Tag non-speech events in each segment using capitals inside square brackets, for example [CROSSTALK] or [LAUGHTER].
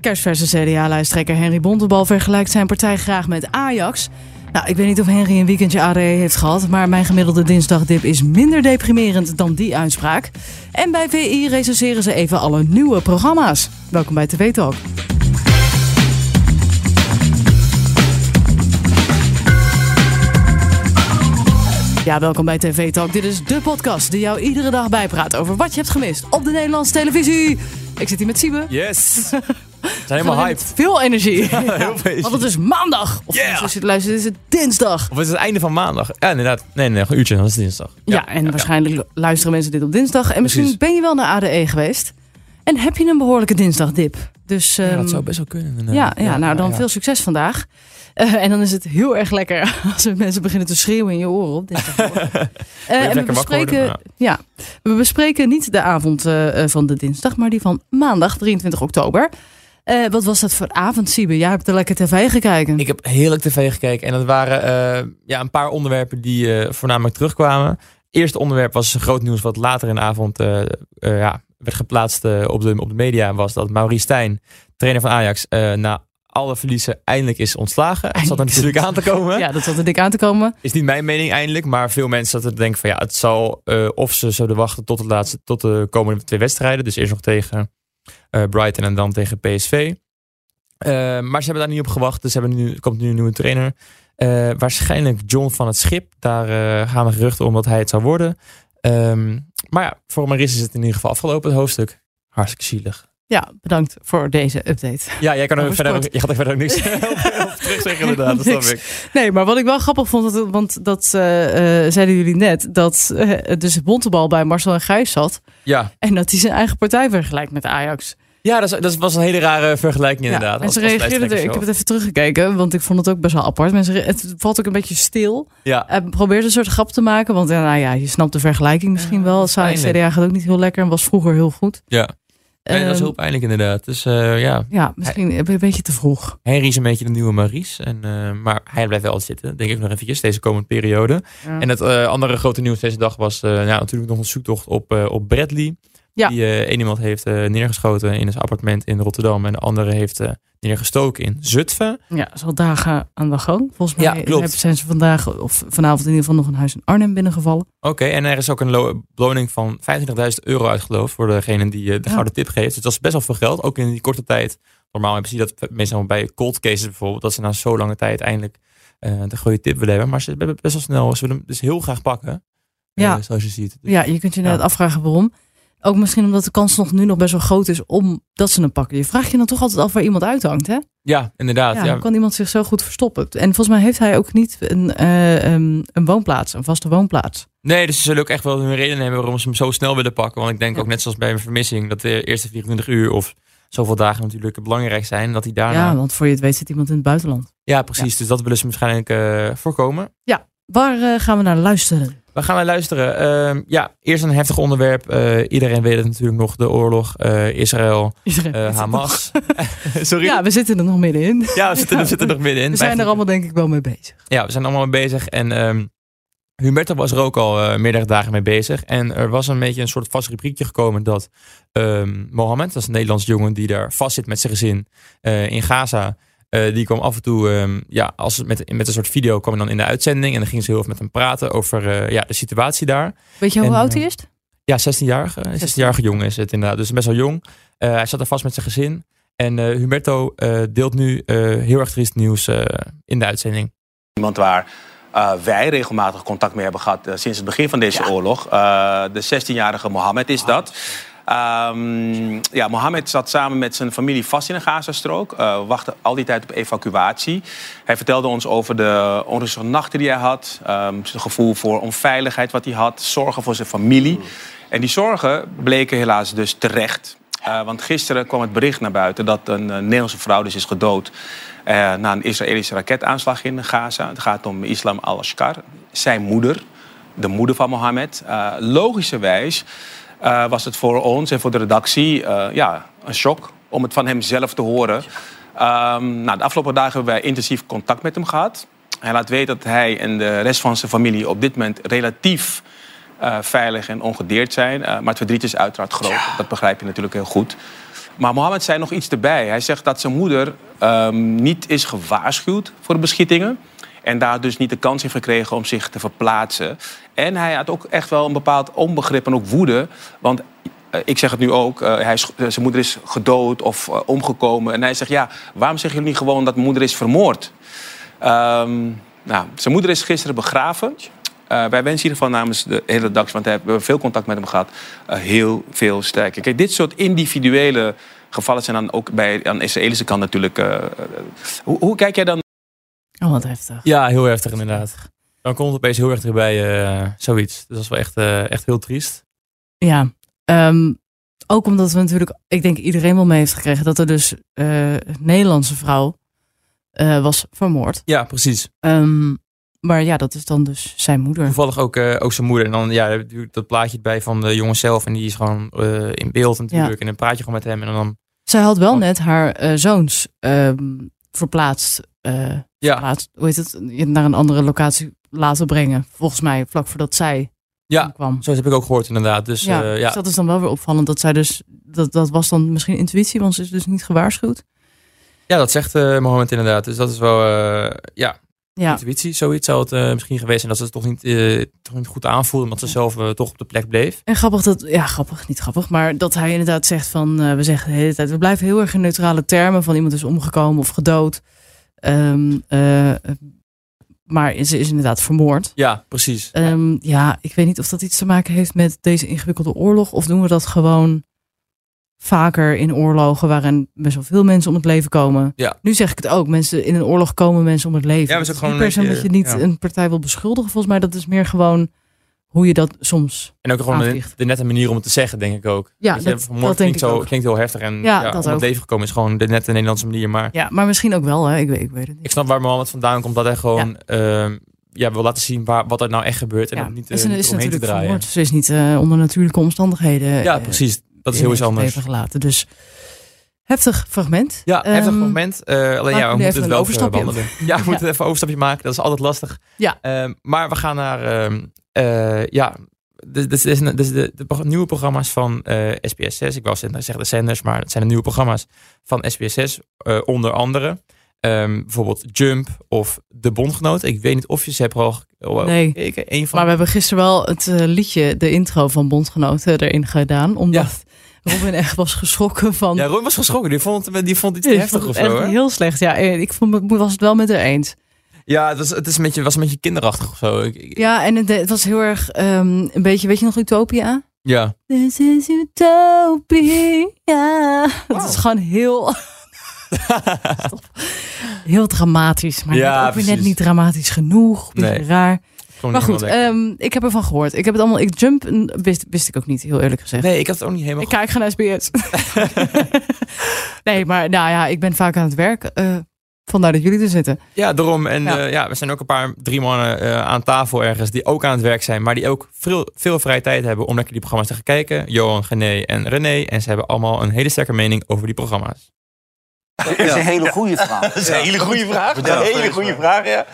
Kersverse CDA-lijsttrekker Henry Bontebal vergelijkt zijn partij graag met Ajax. Nou, ik weet niet of Henry een weekendje ARE heeft gehad, maar mijn gemiddelde dinsdagdip is minder deprimerend dan die uitspraak. En bij VI recenseren ze even alle nieuwe programma's. Welkom bij TV Talk. Ja, welkom bij TV Talk. Dit is de podcast die jou iedere dag bijpraat over wat je hebt gemist op de Nederlandse televisie. Ik zit hier met Siebe. [LAUGHS] Yes! We zijn helemaal Gewoon hyped. met Veel energie. [LAUGHS] Heel veel Want het is maandag. Of Yeah. als je het luistert, is het dinsdag. Of het is het einde van maandag? Ja, inderdaad. Nee, nee, nog een uurtje, dan is het dinsdag. Ja, en waarschijnlijk lu- luisteren mensen dit op dinsdag. En misschien Precies. ben je wel naar ADE geweest. En heb je een behoorlijke dinsdagdip. Dus Ja, ehm, dat zou best wel kunnen. ja, inderdaad. ja, nou dan ja. veel succes vandaag. Eh, en dan is het heel erg lekker [LAUGHS] als er mensen beginnen te schreeuwen in je oren op [LAUGHS] dinsdagmorgen. Eh, en we lekker wakker worden, bespreken, ja. we bespreken niet de avond eh, eh, van de dinsdag, maar die van maandag 23 oktober. Eh, wat was dat voor avond, Siebe? Jij hebt er lekker tv gekeken. Ik heb heerlijk tv gekeken en dat waren eh, ja, een paar onderwerpen die eh, voornamelijk terugkwamen. Eerste onderwerp was groot nieuws wat later in de avond eh, eh, ja, werd geplaatst eh, op, de, op de media. Was dat Maurice Stijn, trainer van Ajax, eh, na alle verliezen eindelijk is ontslagen. Dat zat er Eindelijk. natuurlijk aan te komen. Ja, dat zat er dik aan te komen. Is niet mijn mening eindelijk, maar veel mensen dat denken van ja, het zal eh, of ze zouden wachten tot de, laatste, tot de komende twee wedstrijden. Dus eerst nog tegen eh, Brighton en dan tegen PSV. Eh, maar ze hebben daar niet op gewacht, dus ze hebben nu, er komt nu een nieuwe trainer. Eh, waarschijnlijk John van het Schip. Daar eh, gaan we geruchten om dat hij het zou worden. Ehm, maar ja, voor Maris is het in ieder geval afgelopen, het hoofdstuk. Hartstikke zielig. Ja, bedankt voor deze update. [LAUGHS] Ja, jij kan er Over verder, ook, sport. je gaat er verder ook [LAUGHS] niks op, op terug zeggen inderdaad, dat snap Niks. ik. Nee, maar wat ik wel grappig vond, dat- want dat eh, eh, zeiden jullie net, dat eh, dus Bontebal bij Marcel en Gijs zat Ja, en dat hij zijn eigen partij vergelijkt met Ajax. ja dat, is- dat was een hele rare vergelijking inderdaad. Ja, en ze als- als reageerden er, lijsttrekker ik zo. heb het even teruggekeken, want ik vond het ook best wel apart. Mensen, re- het valt ook een beetje stil. Ja, Hij probeert een soort grap te maken, want ja, nou ja, je snapt de vergelijking misschien Ja, wel. dat is Het pijnlijk. CDA gaat ook niet heel lekker en was vroeger heel goed. ja. Nee, dat is Ehm, heel pijnlijk inderdaad. Dus eh, ja, ja, misschien een beetje te vroeg. Henry is een beetje de nieuwe Maries. En, eh, maar hij blijft wel zitten, denk ik nog eventjes, deze komende periode. Ja. En het eh, andere grote nieuws deze dag was eh, ja, natuurlijk nog een zoektocht op, eh, op Bradley. Ja. Die eh, één iemand heeft eh, neergeschoten in zijn appartement in Rotterdam. En de andere heeft eh, neergestoken in Zutphen. Ja, is al dagen aan de gang. Volgens Ja, mij eh, klopt. hebben- zijn ze vandaag of vanavond in ieder geval nog een huis in Arnhem binnengevallen. Oké, en er is ook een lo- beloning van 25.000 euro uitgeloofd voor degene die eh, de Ja. gouden tip geeft. Dus dat is best wel veel geld, ook in die korte tijd. Normaal hebben ze dat meestal bij cold cases bijvoorbeeld, dat ze na zo'n lange tijd eindelijk eh, de goede tip willen hebben. Maar ze hebben best wel snel, ze willen hem dus heel graag pakken, Ja. ja. zoals je ziet. Dus- Ja, je kunt je inderdaad afvragen waarom. Ook misschien omdat de kans nog nu nog best wel groot is om dat ze hem pakken. Je vraagt je dan toch altijd af waar iemand uithangt, hè? ja, inderdaad. Ja, Ah, ja. hoe kan iemand zich zo goed verstoppen? En volgens mij heeft hij ook niet een, eh, ehm, een woonplaats, een vaste woonplaats. Nee, dus ze zullen ook echt wel hun reden hebben waarom ze hem zo snel willen pakken. Want ik denk Ja. ook net zoals bij een vermissing, dat de eerste 24 uur of zoveel dagen natuurlijk belangrijk zijn. Dat hij daarna... Ja, Ja, want voor je het weet zit iemand in het buitenland. precies. Dus dat willen ze waarschijnlijk eh, voorkomen. Waar eh, gaan we naar luisteren? We gaan naar luisteren. Ehm, ja, eerst een heftig onderwerp. Eh, iedereen weet het natuurlijk nog. De oorlog, eh, Israël, eh, Hamas. [LAUGHS] Sorry? Ja, Ja, we zitten er nog middenin. we, zitten, we zitten er middenin. We zijn er allemaal denk ik wel mee bezig. Ja, we zijn allemaal mee bezig. En ehm Humberto was er ook al eh, meerdere dagen mee bezig. En er was een beetje een soort vast rubriekje gekomen dat ehm, Mohammed, dat is een Nederlands jongen die daar vast zit met zijn gezin eh, in Gaza. eh, die kwam af en toe, ehm, ja, als met, met een soort video kwam hij dan in de uitzending. En dan gingen ze heel veel met hem praten over eh, ja, de situatie daar. Weet je hoe En, oud hij eh, is? Ja, 16-jarige. 16-jarige jongen is het inderdaad. Dus best wel jong. Eh, hij zat er vast met zijn gezin. En eh, Humberto eh, deelt nu eh, heel erg triest nieuws eh, in de uitzending. Iemand waar eh, wij regelmatig contact mee hebben gehad eh, sinds het begin van deze oorlog. Eh, de 16-jarige Mohammed is dat. Ehm, ja, Mohammed zat samen met zijn familie vast in de Gazastrook. eh wachtte al die tijd op evacuatie. Hij vertelde ons over de onrustige nachten die hij had. ehm, zijn gevoel voor onveiligheid wat hij had. Zorgen voor zijn familie. En die zorgen bleken helaas dus terecht. Eh, want gisteren kwam het bericht naar buiten dat een eh, Nederlandse vrouw dus is gedood eh, na een Israëlische raketaanslag in Gaza. Het gaat om Islam al-Ashkar, zijn moeder, de moeder van Mohammed. Eh, logischerwijs eh, was het voor ons en voor de redactie eh, ja, een shock om het van hem zelf te horen. Ehm, nou, de afgelopen dagen hebben wij intensief contact met hem gehad. Hij laat weten dat hij en de rest van zijn familie op dit moment relatief eh, veilig en ongedeerd zijn. Eh, maar het verdriet is uiteraard groot. Dat begrijp je natuurlijk heel goed. Maar Mohammed zei nog iets erbij. Hij zegt dat zijn moeder ehm, niet is gewaarschuwd voor de beschietingen. En daar dus niet de kans heeft gekregen om zich te verplaatsen. En hij had ook echt wel een bepaald onbegrip en ook woede. Want eh, ik zeg het nu ook, eh, hij is- eh, zijn moeder is gedood of eh, omgekomen. En hij zegt, ja, waarom zeggen jullie niet gewoon dat mijn moeder is vermoord? Ehm, nou, zijn moeder is gisteren begraven. Eh, wij wensen in ieder geval namens de hele redactie, want we hebben veel contact met hem gehad, eh, heel veel sterker. Kijk, dit soort individuele gevallen zijn dan ook bij aan de Israëlische kant natuurlijk. eh, eh, hoe, hoe kijk jij dan? Oh, wat heftig. Ja, heel heftig inderdaad. Dan komt het opeens heel erg erbij eh, zoiets. Dus dat is wel echt, eh, echt heel triest. Ja, ehm, ook omdat we natuurlijk, ik denk iedereen wel mee heeft gekregen dat er dus eh, een Nederlandse vrouw eh, was vermoord. Ja, precies. Ehm, maar ja, dat is dan dus zijn moeder. Toevallig ook, eh, ook zijn moeder. En dan ja, daar heb je natuurlijk dat plaatje bij van de jongen zelf. En die is gewoon eh, in beeld natuurlijk. En dan praat je gewoon met hem. En dan, Zij had wel net haar eh, zoons ehm, verplaatst, eh, ja, verplaatst, hoe heet het, naar een andere locatie laten brengen. Volgens mij vlak voordat zij ja, kwam. zo heb ik ook gehoord inderdaad. Dus ja, ja, dus ja. dat is dan wel weer opvallend dat zij dus, dat, dat was dan misschien intuïtie, want ze is dus niet gewaarschuwd. ja, dat zegt eh Mohammed inderdaad. Dus dat is wel, eh, ja, Ja, intuïtie. Zoiets zou het eh, misschien geweest zijn. Dat ze het toch niet, eh, toch niet goed aanvoelden. Omdat ze zelf eh, toch op de plek bleef. En grappig dat, ja, grappig, niet grappig, maar dat hij inderdaad zegt van, eh, we zeggen de hele tijd, we blijven heel erg in neutrale termen van iemand is omgekomen of gedood. Ehm, eh, maar ze is inderdaad vermoord. Ja, precies. Ehm, ja, ik weet niet of dat iets te maken heeft met deze ingewikkelde oorlog of doen we dat gewoon vaker in oorlogen waarin best wel veel mensen om het leven komen. Ja. Nu zeg ik het ook, mensen in een oorlog komen mensen om het leven. Ja, maar het is Dat ook niet per gewoon se een omdat je niet beetje, ja. een partij wil beschuldigen, volgens mij dat is meer gewoon hoe je dat soms En ook gewoon de, Aanvliegt. de nette manier om het te zeggen, denk ik ook. Ja, Weet je, dat- vermoord dat denk klinkt, ik zo, ook. klinkt heel heftig. En Ja, ja, dat om ook. het leven gekomen is gewoon de nette Nederlandse manier. Maar Ja, maar misschien ook wel, hè? Ik, weet, ik weet het niet. ik snap waar Mohammed vandaan komt. Dat hij gewoon ehm, ja, wil laten zien waar, wat er nou echt gebeurt. En ja. dat niet, en eh, ze niet is omheen te natuurlijk draaien. vermoord. Ze is niet eh, onder natuurlijke omstandigheden. Ja, eh, precies. Dat is in heel iets het anders. leven gelaten. Dus heftig fragment. Ja, heftig Ehm, moment. Eh, alleen maak ja, nu we moeten even het een wel overstapje. verwandelen. Ja, we moeten even een overstapje maken. Dat is altijd lastig. Ja. Ehm, maar we gaan naar ehm, eh, ja, dit dit is een- dit is de, de pro- nieuwe programma's van eh SBS6. Ik wou zeggen zeggen de zenders, maar het zijn de nieuwe programma's van SBS6. eh, onder andere Ehm, bijvoorbeeld Jump of De Bondgenoot. Ik weet niet of je ze hebt al oh, al- al Nee. gekeken. Eén van Maar we hebben gisteren wel het eh, liedje, de intro van Bondgenoten erin gedaan. Omdat Robin echt was geschrokken van... ja, Roy was geschrokken. Die vond, het- die vond het Ja, iets ik te vond heftig het of echt zo. hè? heel slecht. Ja, eh, ik vond, me- was het wel met haar eens. Ja, het was, het is een beetje, was een beetje kinderachtig of zo. Ik- ik- Ja, en het, het was heel erg ehm, een beetje... Weet je nog Utopia? ja. This is Utopia. [LAUGHS] Dat is gewoon heel... [LAUGHS] Stop. heel dramatisch. Maar Ja, net ook weer net precies. niet dramatisch genoeg. Beetje Nee. raar. Gewoon Maar niet goed, helemaal lekker. ehm, ik heb ervan gehoord. Ik heb het allemaal... Ik jump en- wist, wist ik ook niet, heel eerlijk gezegd. nee, ik had het ook niet helemaal Ik kijk geen SBS. [LAUGHS] nee, maar nou ja, ik ben vaak aan het werk. eh, vandaar dat jullie er zitten. Ja, daarom. En Ja. ja, ja we zijn ook een paar, drie mannen eh, aan tafel ergens die ook aan het werk zijn, maar die ook veel, veel vrije tijd hebben om lekker die programma's te gaan kijken. Johan, Gené en René. En ze hebben allemaal een hele sterke mening over die programma's. Dat is een hele goede [LAUGHS] vraag. Dat is een hele goede vraag. Vertel, een hele vertel goede eens vraag, ja.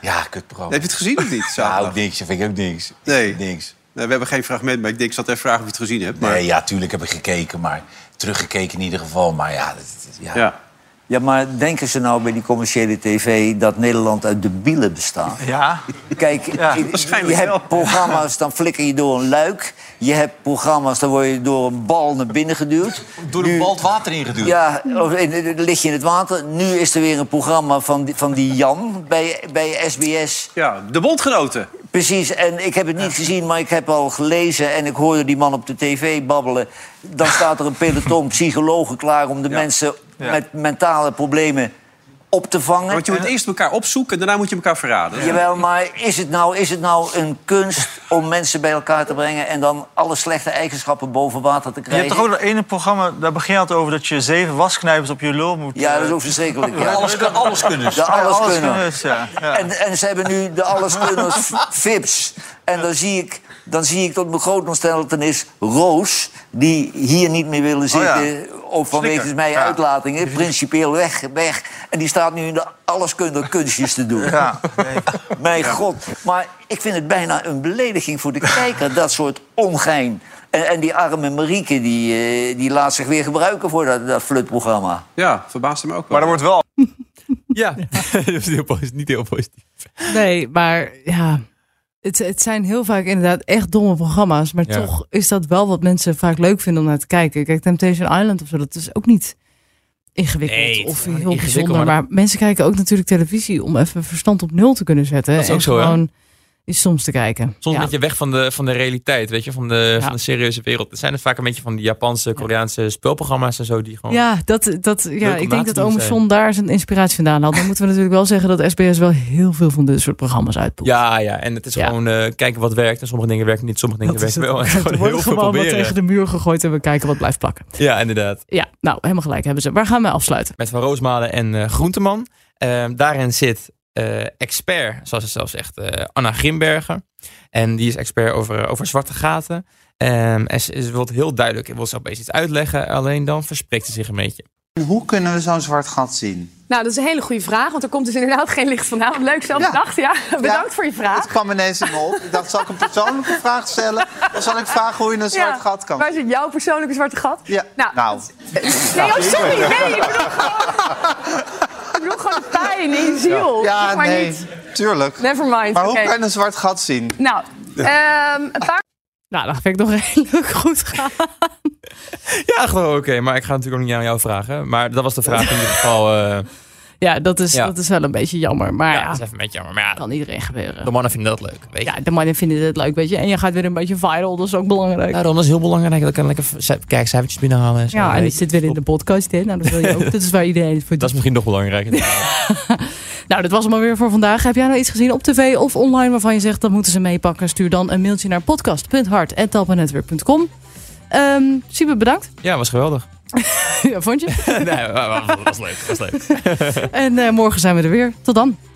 Ja, kutprogramma. Heb je het gezien of niet? Ja, zaterdag? ook niks. Dat vind Nou, ik ook niks. Nee. Niks. Nou, we hebben geen fragment, maar ik denk, ik zat even vragen of je het gezien hebt. Maar, Nee, ja, tuurlijk heb ik gekeken, maar teruggekeken in ieder geval. Maar ja, dat, dat- ja. ja. Ja, maar denken ze nou bij die commerciële tv dat Nederland uit de bielen bestaat? [LAUGHS] Ja. Kijk, je- je waarschijnlijk hebt wel. programma's, dan flikker je door een luik. Je hebt programma's, dan word je door een bal naar binnen geduwd. Door een Nu- bal het water ingeduwd. Ja, of- en, eh, dan lig je in het water. Nu is er weer een programma van die, van die Jan bij, bij SBS. ja, de bondgenoten. Precies, en ik heb het niet gezien, maar ik heb al gelezen... en ik hoorde die man op de tv babbelen. Dan staat er een peloton psychologen klaar... om de mensen Ja. met mentale problemen op te vangen. Want je moet eerst elkaar opzoeken en daarna moet je elkaar verraden. Jawel, maar is het, nou, is het nou een kunst om mensen bij elkaar te brengen... en dan alle slechte eigenschappen boven water te Je krijgen? hebt toch ook dat ene programma, daar begin je altijd over dat je zeven wasknijpers op je lul moet... Ja, eh, dat is ook verschrikkelijk. Ja. Alles, kan- alles kunnen. De alles kunnen. is, ja. Ja. En, en ze hebben nu de [LAUGHS] alleskunners f- Fips. En dan zie ik, dan zie ik tot mijn groot ontsteltenis Roos... die hier niet meer willen Oh ja. zitten... of vanwege Slikker. mijn Ja. uitlatingen, principieel weg, weg. En die staat nu in de alleskunde kunstjes te doen. [LAUGHS] Ja, nee. Mijn god. Maar ik vind het bijna een belediging voor de kijker, dat soort ongein. En, en die arme Marieke, die, eh, die laat zich weer gebruiken voor dat, dat flutprogramma. Ja, verbaasde me ook wel. Maar er wordt wel Ja, [LAUGHS] dat is heel posi- niet heel positief. Nee, maar ja. Het, het zijn heel vaak inderdaad echt domme programma's. Maar Ja. toch is dat wel wat mensen vaak leuk vinden om naar te kijken. Kijk, Temptation Island of zo, dat is ook niet ingewikkeld Nee, het is of helemaal heel niet bijzonder. ingewikkeld, maar maar mensen kijken ook natuurlijk televisie om even verstand op nul te kunnen zetten. Dat is ook en zo, hè? gewoon iets soms te kijken. Soms ja. een beetje weg van de, van de realiteit, weet je, van de, Ja. van de serieuze wereld. Er zijn het vaak een beetje van die Japanse, Koreaanse spelprogramma's en zo die gewoon... Ja, dat, dat, ja om ik na denk te dat doen Ome zijn. John daar zijn inspiratie vandaan had. Dan moeten we natuurlijk wel zeggen dat SBS wel heel veel van dit soort programma's uitpoept. Ja, ja, en het is Ja. gewoon eh, kijken wat werkt. En sommige dingen werken niet, sommige dingen [LAUGHS] Dat is werken het. wel. En Er gewoon wordt heel veel gewoon wat proberen. tegen de muur gegooid en we kijken wat blijft plakken. Ja, inderdaad. Ja, nou, helemaal gelijk hebben ze. Waar gaan we afsluiten? Met Van Roosmalen en eh, Groenteman. Eh, daarin zit eh, expert, zoals ze zelf zegt, eh, Anna Grimberger. En die is expert over, eh, over zwarte gaten. Ehm, en ze, ze wil het heel duidelijk, wil ze opeens iets uitleggen. Alleen dan verspreekt ze zich een beetje. Hoe kunnen we zo'n zwart gat zien? Nou, dat is een hele goede vraag, want er komt dus inderdaad geen licht vandaan. [LAUGHS] Leuk zelf Ja. bedacht, ja. Bedankt Ja. voor je vraag. Het kwam ineens in me op. Ik dacht, zal ik een persoonlijke vraag stellen? Of zal ik vragen hoe je een zwart Ja. gat kan Waar zit jouw persoonlijke zwarte gat? Ja. Nou, Nou. dat is- Nee, oh, sorry. Nee, ik bedoel gewoon... [LAUGHS] Ik bedoel gewoon de pijn in je ziel. Ja, Zeg maar nee, niet. tuurlijk. Never mind. Maar hoe oké. kan je een zwart gat zien? Nou, ehm, een paar Nou, dat vind ik nog [LAUGHS] redelijk goed gaan. Ja, gewoon oké, maar ik ga natuurlijk ook niet aan jou vragen. Maar dat was de vraag [LAUGHS] in ieder geval. eh, Ja, dat is, Ja. dat is wel een beetje jammer. Maar ja, ja, dat is even een beetje jammer. Maar ja, kan iedereen de gebeuren. mannen vinden dat leuk. Weet je. Ja, de mannen vinden het leuk, weet je. En je gaat weer een beetje viral, dat is ook belangrijk. Ja, Daarom is heel belangrijk dat ik een lekker kijkcijfertjes binnenhalen. En zo, en weet die je. zit weer in de podcast, hè. Nou, dat, wil [LAUGHS] je ook. dat is waar iedereen het voor Dat doet. is misschien nog [LAUGHS] belangrijker. Nou, dat was hem alweer voor vandaag. Heb jij nou iets gezien op tv of online waarvan je zegt... dat moeten ze meepakken? Stuur dan een mailtje naar podcast.hart.talpanetwerk.com. Ehm Siebe, bedankt. [LAUGHS] ja, was geweldig. ja, vond je? [LAUGHS] nee, was leuk. Was leuk. En eh, morgen zijn we er weer. Tot dan.